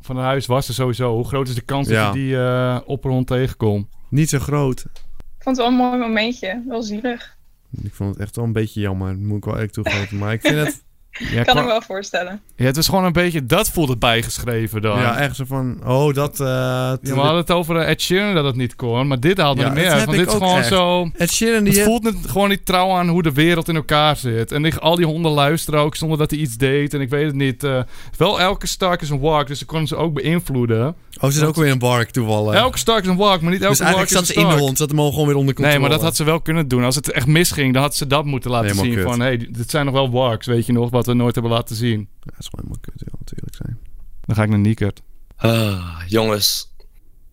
S1: van het huis was ze sowieso? Hoe groot is de kans
S2: Ja.
S1: dat je die eh, opperhond tegenkomt?
S2: Niet zo groot.
S13: Ik vond het wel een mooi momentje, wel zielig.
S2: Ik vond het echt wel een beetje jammer. Moet ik wel eerlijk toegeven. Maar ik vind het...
S1: Ja,
S13: kan
S1: qua-
S13: ik me wel voorstellen.
S1: ja, het was gewoon een beetje... Dat voelde bijgeschreven dan.
S2: Ja, echt zo van... Oh, dat... eh
S1: Ja, we hadden het over eh, Ed Sheeran dat het niet kon, maar dit haalde
S2: Ja,
S1: er meer
S2: dat
S1: uit.
S2: heb
S1: Want
S2: ik
S1: dit is
S2: ook
S1: gewoon
S2: echt.
S1: zo...
S2: Ed Sheeran, die eh,
S1: het voelt
S2: heeft-
S1: net gewoon niet trouw aan hoe de wereld in elkaar zit. En ik, al die honden luisteren ook zonder dat hij iets deed. En ik weet het niet. eh, wel, elke Stark is een wark, dus ze konden ze ook beïnvloeden.
S2: Oh, ze is ook weer een bark toevallen.
S1: Elke Stark is een wark, maar niet elke
S2: Dus eigenlijk
S1: wark is
S2: zat ze
S1: een
S2: in de
S1: Stark.
S2: hond. Zat hem al gewoon weer onder controle.
S1: Nee, maar dat had ze wel kunnen doen. Als het echt misging, dan had ze dat moeten laten
S2: Helemaal
S1: zien.
S2: kut.
S1: Van, hey, dit zijn nog wel warks, weet je nog, wat we nooit hebben laten zien.
S2: Ja, dat is gewoon helemaal kut, ja, natuurlijk zijn.
S1: Dan ga ik naar Niekert.
S14: Ah, jongens,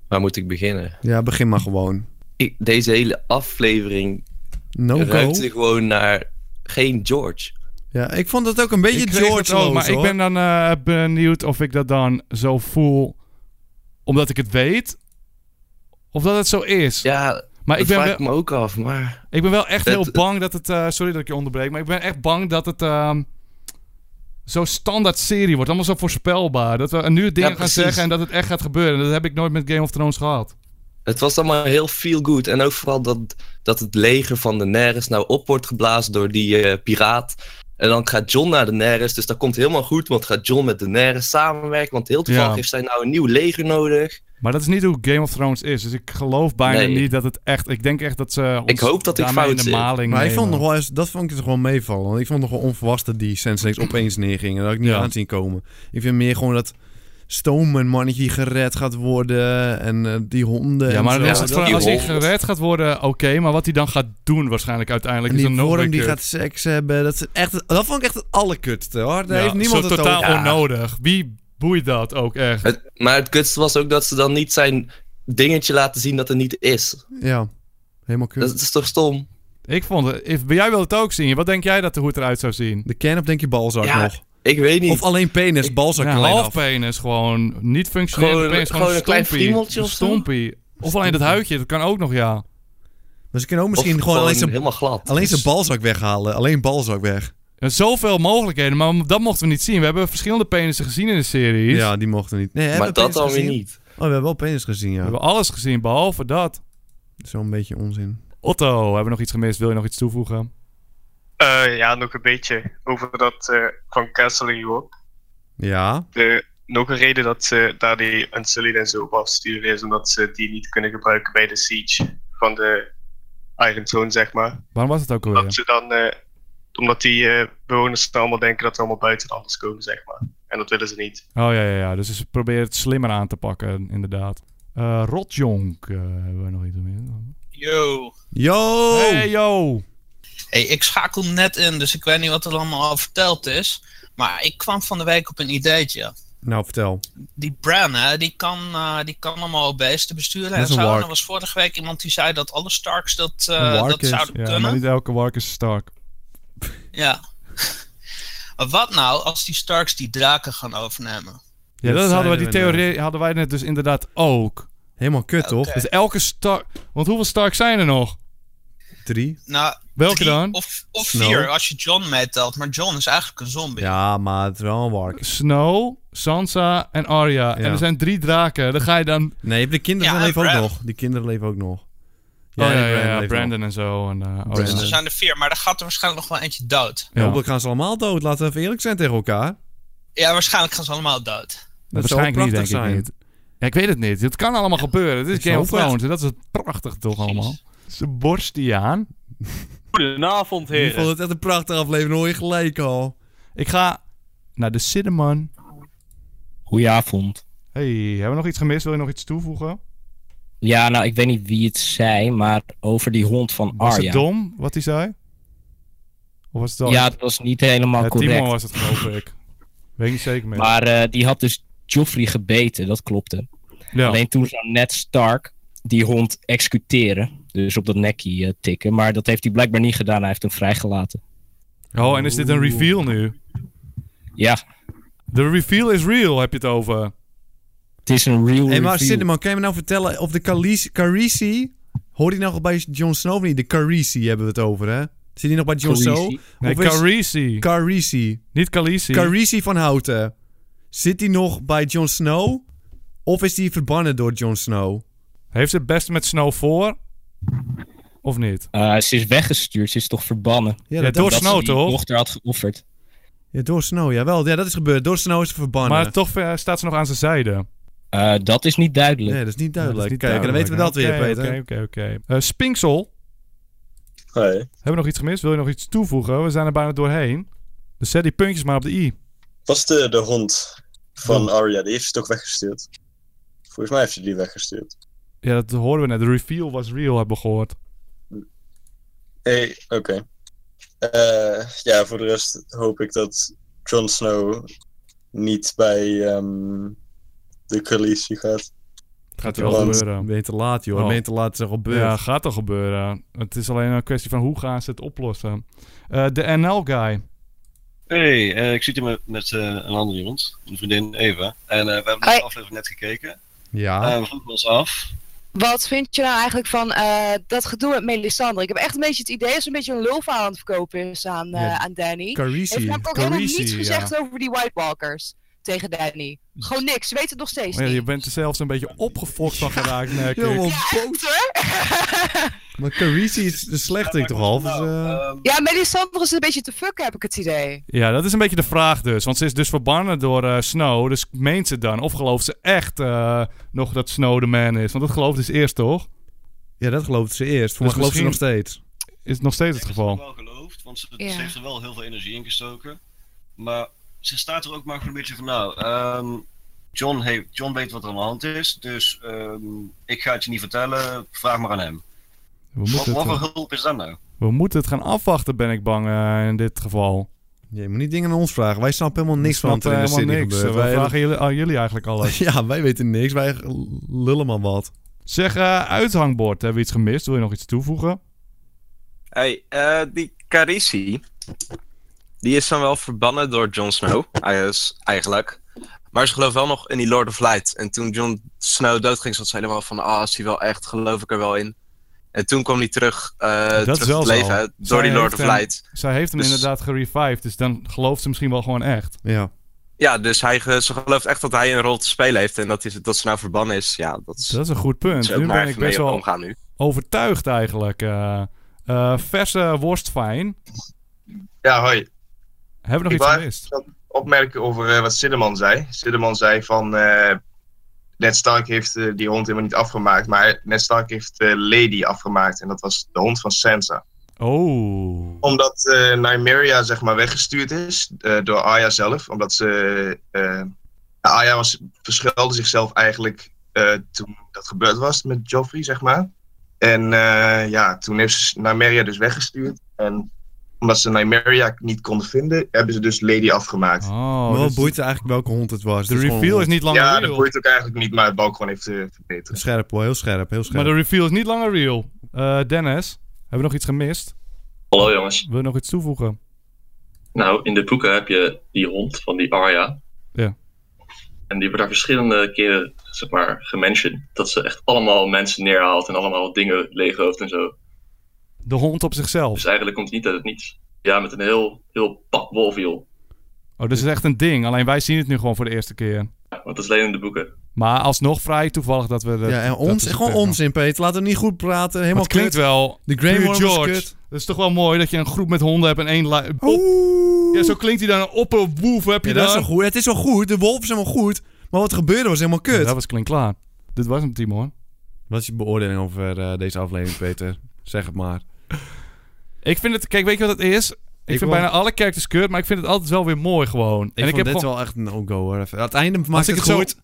S14: waar moet ik beginnen?
S2: Ja, begin maar gewoon.
S14: Ik, deze hele aflevering
S2: No go.
S14: ruikte gewoon naar geen George.
S2: Ja, ik vond dat ook een beetje
S1: Ik kreeg
S2: George
S1: het ook, Maar
S2: hoor.
S1: ik ben dan eh, benieuwd of ik dat dan zo voel omdat ik het weet. Of dat het zo is.
S14: Ja,
S1: maar
S14: dat
S1: ik ben
S14: vraag
S1: wel-
S14: ik me ook af, maar...
S1: Ik ben wel echt
S14: Dat-
S1: heel bang dat het... eh, sorry dat ik je onderbreek, maar ik ben echt bang dat het... ehm, Zo'n standaard serie wordt, allemaal zo voorspelbaar. Dat we nu dingen
S14: Ja,
S1: gaan
S14: precies.
S1: zeggen en dat het echt gaat gebeuren. Dat heb ik nooit met Game of Thrones gehad.
S14: Het was allemaal heel feel good. En ook vooral dat, dat het leger van de Daenerys nou op wordt geblazen door die eh, piraat. Eh, En dan gaat John naar Daenerys, dus dat komt helemaal goed, want gaat John met Daenerys samenwerken, want heel toevallig
S1: Ja.
S14: heeft zij nou een nieuw leger nodig.
S1: Maar dat is niet hoe Game of Thrones is. Dus ik geloof bijna
S14: Nee.
S1: niet dat het echt... Ik denk echt dat ze ons
S14: Ik hoop dat ik
S1: daarmee
S14: fout
S1: in de
S14: zit.
S1: maling
S2: Maar ik vond
S1: nemen.
S2: nog wel eens, dat vond ik toch wel meevallen. Want ik vond het nog wel onverwacht dat die Senselex opeens neergingen. Dat had ik niet
S1: Ja.
S2: aan zien komen. Ik vind meer gewoon dat Stoom een mannetje die gered gaat worden. En eh, die honden.
S1: Ja,
S2: en
S1: maar
S2: zo.
S1: dan is het gewoon, als hij gered gaat worden, oké. maar wat hij dan gaat doen waarschijnlijk uiteindelijk...
S2: En die
S1: is dan nog
S2: vorm
S1: weer
S2: die
S1: kut.
S2: gaat seks hebben. Dat, is echt, dat vond ik echt het allerkutste hoor. Daar
S1: Ja,
S2: heeft niemand
S1: zo
S2: het
S1: totaal
S2: over.
S1: onnodig. Wie boeit dat ook echt?
S14: Het- maar het kutste was ook dat ze dan niet zijn dingetje laten zien dat er niet is.
S2: Ja, helemaal kut.
S14: Dat, is toch stom?
S1: Ik vond het... If, jij wil het ook zien. Wat denk jij dat hoe het eruit zou zien?
S2: De can of denk je balzak
S1: Ja,
S2: nog?
S14: Ik weet niet.
S2: Of alleen penis, balzak
S1: Ja,
S2: alleen
S1: half
S2: af.
S1: penis gewoon. Niet functioneel.
S2: Gewoon-
S1: Gewoon, penis, gewoon,
S2: gewoon
S1: een
S2: een klein
S1: stompie.
S2: friemeltje of
S1: Een
S2: zo?
S1: stompie. Of alleen dat huidje, dat kan ook nog, ja.
S2: Maar ze kunnen Dus ook misschien gewoon, alleen zijn, alleen zijn balzak weghalen. Alleen balzak weg.
S1: Er zijn zoveel mogelijkheden, maar dat mochten we niet zien. We hebben verschillende penissen gezien in de series.
S2: Ja, die mochten niet. Nee, hebben we penis gezien? Oh, we hebben wel penis gezien, ja.
S1: We hebben alles gezien, behalve dat.
S2: Zo'n beetje onzin.
S1: Otto, hebben we nog iets gemist? Wil je nog iets toevoegen?
S15: Eh, ja, nog een beetje over dat eh van Castle ook.
S2: Ja.
S15: De, nog een reden dat ze daar die Unsullied en zo op afsturen is omdat ze die niet kunnen gebruiken bij de siege van de Iron Throne, zeg maar.
S1: Waarom was het ook alweer?
S15: Dat ze dan, eh, omdat die eh, bewoners dan allemaal denken dat ze allemaal buiten anders komen, zeg maar. En dat willen ze niet.
S1: Oh ja, ja, ja. Dus ze proberen het slimmer aan te pakken, inderdaad. Eh Rotjonk, eh, hebben we nog iets meer?
S16: Yo.
S2: Yo!
S1: Hey, yo!
S16: Hey, ik schakel net in, dus ik weet niet wat er allemaal al verteld is. Maar ik kwam van de week op een ideetje.
S2: Nou, vertel.
S16: Die Bran, hè, die kan, eh, die kan allemaal beesten besturen
S1: Dat
S16: en
S1: is
S16: zo.
S1: een
S16: En
S1: wark.
S16: er was vorige week iemand die zei dat alle Starks dat, eh,
S1: Een wark
S16: dat
S1: is-
S16: zouden
S1: ja,
S16: kunnen.
S1: maar niet elke wark is Stark.
S16: Ja. maar wat nou als die Starks die draken gaan overnemen?
S1: Ja, dat, hadden we, die theorie hadden wij net dus inderdaad ook.
S2: Helemaal kut,
S16: toch?
S1: Dus elke Stark... Want hoeveel Stark zijn er nog?
S2: Drie.
S16: Nou,
S1: Welke
S16: drie
S17: Oh.
S1: dan?
S16: Of, of
S1: Snow.
S16: vier, als je John meetelt. Maar John is eigenlijk een zombie.
S2: Ja, maar het is wel een wark.
S1: Snow, Sansa en Arya. En er zijn drie draken. Dan ga je dan...
S2: Nee, je hebt de kinderen
S1: Ja, en
S2: leven ook
S1: Bran.
S2: nog. Die kinderen leven ook nog.
S1: Oh ja,
S2: en
S1: ja,
S2: Bran
S1: ja,
S2: leven
S1: Brandon
S2: nog.
S1: en zo. En, eh, oh,
S16: dus
S1: ja.
S16: er zijn er vier, maar er gaat er waarschijnlijk nog wel eentje dood.
S2: Ja. Hopelijk gaan ze allemaal dood. Laten we even eerlijk zijn tegen elkaar.
S16: Ja, waarschijnlijk gaan ze allemaal dood.
S2: Dat zou
S1: waarschijnlijk niet, denk
S2: prachtig
S1: ik
S2: zijn.
S1: niet. Ja, ik weet het niet. Het kan allemaal gebeuren. Dit
S2: Ik
S1: is Game
S2: hoop
S1: of
S2: het.
S1: Thrones. En dat is het prachtig toch allemaal. Ze borst die aan.
S18: Goedenavond,
S2: Ik vond
S18: heren.
S2: het echt een prachtige aflevering. Hoor je gelijk al.
S1: Ik ga naar de Cinnamon.
S17: Goedenavond.
S1: Hey, hebben we nog iets gemist? Wil je nog iets toevoegen?
S17: Ja, nou, ik weet niet wie het zei, maar over die hond van
S1: Was
S17: Arya.
S1: het dom wat hij zei? Of was het dan...
S17: Ja, dat was niet helemaal
S1: Ja,
S17: correct.
S1: Timon was het geloof ik. Weet ik niet zeker meer.
S17: Maar eh, die had dus Joffrey gebeten, dat klopte.
S1: Ja.
S17: Alleen toen zou Ned Stark die hond executeren. Dus op dat nekje eh, tikken. Maar dat heeft hij blijkbaar niet gedaan. Hij heeft hem vrijgelaten.
S1: Oh, en is dit een reveal nu?
S17: Ja.
S1: De reveal is real, heb je het over.
S17: Het is een real
S2: Hé, maar Cinnamon, kan je me nou vertellen of de Khaleesi- Khaleesi... Hoor die nou nog bij Jon Snow of niet? De Carisi hebben we het over, hè? Zit die nog bij Jon Snow?
S1: Khaleesi. Nee,
S2: Of is-
S1: Khaleesi.
S2: Khaleesi.
S1: Niet Khaleesi.
S2: Carisi van Houten. Zit die nog bij Jon Snow? Of is die verbannen door Jon Snow?
S1: Heeft ze het beste met Snow voor? Of niet?
S17: Eh, ze is weggestuurd. Ze is toch verbannen?
S2: Ja, dat- door
S17: Omdat
S2: Snow,
S17: ze die
S2: toch?
S17: dochter had geofferd.
S2: Ja, door Snow, jawel. Ja, dat is gebeurd. Door Snow is ze verbannen.
S1: Maar toch eh, staat ze nog aan zijn zijde.
S17: Eh, dat is niet duidelijk.
S2: Nee, dat is niet duidelijk. Kijk, en dan weten we dat weer, Peter.
S1: Oké, oké, oké. Eh, Spinksel.
S19: Ah,
S1: Hebben we nog iets gemist? Wil je nog iets toevoegen? We zijn er bijna doorheen. Dus zet die puntjes maar op de i.
S19: Was de, de hond van Arya, die heeft ze toch weggestuurd? Volgens mij heeft ze die weggestuurd.
S1: Ja, dat hoorden we net. De reveal was real, hebben we gehoord.
S19: hey, oké. Eh, ja, voor de rest hoop ik dat Jon Snow niet bij ehm, de coalitie gaat.
S1: Gaat wel
S19: Want-
S1: gebeuren. Oh.
S2: Ben je te laat, joh. Ben je te laat, het is al gebeurd.
S1: Ja, gaat toch gebeuren. Het is alleen een kwestie van hoe gaan ze het oplossen. Eh, de NL-guy.
S20: Hey, eh, ik zit hier met, met eh, een andere iemand, een vriendin Eva. En eh, we hebben de aflevering net gekeken.
S2: Ja.
S20: Eh, we vroegen ons af.
S21: Wat vind je nou eigenlijk van eh, dat gedoe met Melisandre? Ik heb echt een beetje het idee dat ze een beetje een lulverhaal aan het verkopen is aan, eh,
S2: Ja,
S21: aan Danny.
S2: Khaleesi.
S21: Heeft namelijk ook helemaal
S1: Khaleesi,
S21: niets
S1: ja. Oh
S21: gezegd over die White Walkers tegen Danny. Gewoon niks, ze weten het nog steeds
S1: Oh ja,
S21: niet.
S1: je bent er zelfs een beetje opgefokt van geraakt, merk ik.
S21: Ja, echt hoor.
S2: Maar Carisi is de slechte toch half? Dus, eh,
S21: Ja, Melisandre is een beetje te fuck, heb ik het idee.
S1: Ja, dat is een beetje de vraag dus. Want ze is dus verbannen door eh, Snow. Dus meent ze dan? Of gelooft ze echt eh, nog dat Snow de man is? Want dat geloofde ze eerst, toch?
S2: Ja, dat geloofde ze eerst.
S1: Dus
S2: Voor mij gelooft ze nog steeds.
S1: Is het nog steeds het geval?
S22: Oh.
S20: wel geloofd, want ze,
S21: Ja.
S20: ze heeft er wel heel veel energie in gestoken. Maar ze staat er ook maar voor een beetje van, nou, ehm, John, heeft, John weet wat er aan de hand is, dus ehm, ik ga het je niet vertellen, vraag maar aan
S22: Oh.
S20: hem.
S1: We
S20: Wat,
S1: moeten,
S20: wat
S1: het,
S20: voor
S1: eh,
S20: hulp is dat nou?
S1: we moeten het gaan afwachten, ben ik bang eh, in dit geval.
S2: Je moet niet dingen aan ons vragen. Wij snappen helemaal niks van
S1: snappen
S2: wat er in de serie
S1: helemaal niks.
S2: gebeurt.
S1: We vragen jullie, aan jullie eigenlijk alles.
S2: ja, wij weten niks. Wij lullen maar wat.
S1: Zeg, eh, uithangbord. Hebben we iets gemist? Wil je nog iets toevoegen?
S4: Hey, eh, die Carisi. Die is dan wel verbannen door Jon Snow, eigenlijk- eigenlijk. Maar ze gelooft wel nog in die Lord of Light. En toen Jon Snow doodging, zat ze helemaal van... Ah, is hij wel echt? Geloof ik er wel in. En toen kwam hij terug, eh terug tot
S1: zo.
S4: leven hè, door
S1: Zij
S4: die Lord
S1: heeft
S4: of
S1: hem-
S4: Light.
S1: Zij heeft hem
S4: Dus-
S1: inderdaad gerevived. Dus dan gelooft ze misschien wel gewoon echt.
S2: Ja.
S4: Ja, dus hij, ge- ze gelooft echt dat hij een rol te spelen heeft. En dat, is, dat ze nou verbannen is, ja, dat is...
S1: Dat is een goed punt.
S4: Ze ook
S1: Nu
S4: maar
S1: ben ik
S4: even mee
S1: best wel
S4: omgaan nu.
S1: overtuigd eigenlijk. eh eh, verse worst fijn.
S23: Ja, hoi.
S1: Hebben we
S23: Ik
S1: nog iets
S23: wou
S1: gemist?
S23: even opmerken over eh, wat Siddeman zei. Siddeman zei van... eh Ned Stark heeft eh, die hond helemaal niet afgemaakt. Maar Ned Stark heeft eh, Lady afgemaakt. En dat was de hond van Sansa.
S1: Oh.
S23: Omdat eh Nymeria zeg maar weggestuurd is eh, door Arya zelf. Omdat ze... eh Arya was, verschuilde zichzelf eigenlijk eh, toen dat gebeurd was met Joffrey, zeg maar. En eh, ja, toen heeft ze Nymeria dus weggestuurd. En omdat ze Nymeria niet konden vinden, hebben ze dus Lady afgemaakt.
S1: Oh,
S2: maar wat
S23: dus-
S2: boeit het eigenlijk welke hond het was?
S1: De reveal is niet langer
S23: ja,
S1: real.
S23: dat boeit ook eigenlijk niet, maar het balkon heeft eh, verbeterd.
S2: Scherp hoor, heel scherp, heel scherp.
S1: Maar de reveal is niet langer real. Eh, Dennis, hebben we nog iets gemist?
S22: Hallo jongens.
S1: Wil je nog iets toevoegen?
S22: Nou, in de boeken heb je die hond van die Arya.
S1: Ja.
S22: En die wordt daar verschillende keren, zeg maar, gementioned. Dat ze echt allemaal mensen neerhaalt en allemaal dingen leeglooft en zo.
S1: De hond op zichzelf.
S22: Dus eigenlijk komt het niet uit het niets. Ja, met een heel, heel pak wolf, joh.
S1: Oh, dus het is echt een ding. Alleen wij zien het nu gewoon voor de eerste keer.
S22: Want dat is alleen in de boeken.
S1: Maar alsnog vrij toevallig dat we... de-
S2: Ja, en
S1: dat
S2: ons,
S1: we-
S2: gewoon onzin, Peter. Laten we niet goed praten. Helemaal
S1: Het klinkt
S2: kut.
S1: wel.
S2: De Grey
S1: Puur
S2: Worm is
S1: George.
S2: kut.
S1: Dat is toch wel mooi dat je een groep met honden hebt en één... li- op- Ja, zo klinkt hij dan. Een opperwoef heb je
S2: Ja,
S1: dan.
S2: dat is wel goed. Het is wel goed. De wolf is helemaal goed. Maar wat gebeurde was helemaal kut.
S1: dat was klinkklaar. Dit was hem, Timon.
S2: Wat is je beoordeling over eh, deze aflevering, Peter? zeg het maar.
S1: Ik vind het... Kijk, weet je wat het is? Ik, vind
S2: wil-
S1: bijna alle characters kut, maar ik vind het altijd wel weer mooi gewoon.
S2: Ik en vond
S1: heb
S2: dit
S1: gewoon-
S2: wel echt een no-go hoor. Even- Aan het einde maakt
S1: Als ik
S2: het,
S1: het zo-
S2: goed.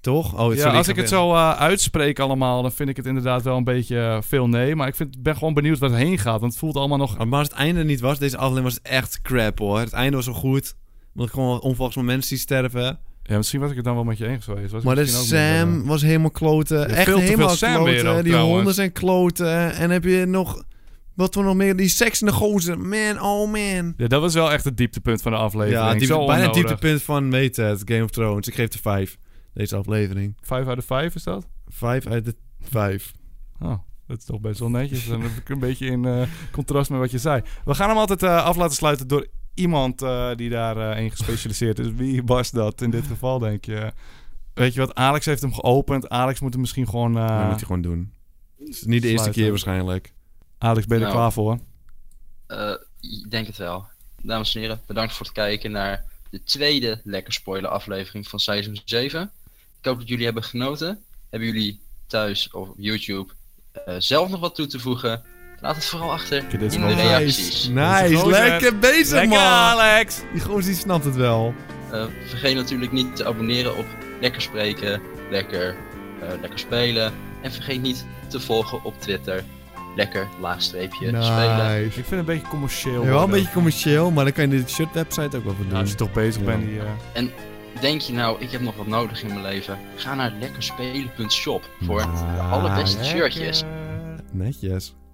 S2: Toch? Oh, sorry,
S1: ja, als
S2: ga
S1: ik het
S2: weer-
S1: zo eh, uitspreek allemaal, dan vind ik het inderdaad wel een beetje eh, veel nee. Maar ik vind, ben gewoon benieuwd waar het heen gaat, want het voelt allemaal nog...
S2: Maar als het einde niet was, deze aflevering was het echt crap hoor. Het einde was zo goed. Omdat ik gewoon onvolgens mijn mensen die sterven.
S1: Ja, misschien was ik het dan wel met je eens geweest. Was ik
S2: Maar ehm, de
S1: misschien ook niet, eh,
S2: Sam was helemaal kloten.
S1: Ja,
S2: echt
S1: veel te veel
S2: helemaal
S1: Sam
S2: kloten.
S1: weer ook,
S2: die
S1: trouwens.
S2: honden zijn kloten. En heb je nog... Wat voor nog meer? Die seks in de gozer. Man, oh man.
S1: Ja, dat was wel echt het dieptepunt van de aflevering.
S2: Ja, diep,
S1: Zo
S2: bijna het
S1: onnodig.
S2: dieptepunt van weet het, Game of Thrones. Ik geef de 5. Deze aflevering.
S1: Vijf uit de vijf is dat?
S2: 5 uit de 5.
S1: Oh, dat is toch best wel netjes. Dan heb ik een beetje in eh, contrast met wat je zei. We gaan hem altijd eh, af laten sluiten door iemand eh, die daarin gespecialiseerd is. Wie was dat in dit geval, denk je? Weet je wat, Alex heeft hem geopend. Alex moet hem misschien gewoon... eh,
S2: dat moet hij gewoon doen. Het is niet de eerste
S1: sluiten.
S2: keer waarschijnlijk.
S1: Alex, ben je er
S3: Nou.
S1: klaar voor?
S3: Eh, ik denk het wel. Dames en heren, bedankt voor het kijken naar de tweede lekker spoiler aflevering van seizoen 7. Ik hoop dat jullie hebben genoten. Hebben jullie thuis of op YouTube eh, zelf nog wat toe te voegen? Laat het vooral achter in de reacties.
S2: Nice, nice. lekker bezig man.
S1: Alex.
S2: Die gozer die snapt het wel.
S3: Eh, vergeet natuurlijk niet te abonneren op Lekker Spreken, Lekker, eh, lekker Spelen. En vergeet niet te volgen op Twitter. Lekker laagstreepje spelen.
S1: Ik vind het een beetje commercieel.
S2: Ja, wel een
S1: worden.
S2: beetje commercieel, maar dan kan je de shirt website ook wel voor doen.
S1: als je toch bezig
S2: Ja.
S1: bent, die... eh,
S3: En denk je nou, ik heb nog wat nodig in mijn leven?
S2: Ah,
S3: Ga naar lekkerspelen.shop voor de allerbeste shirtjes.
S2: Netjes.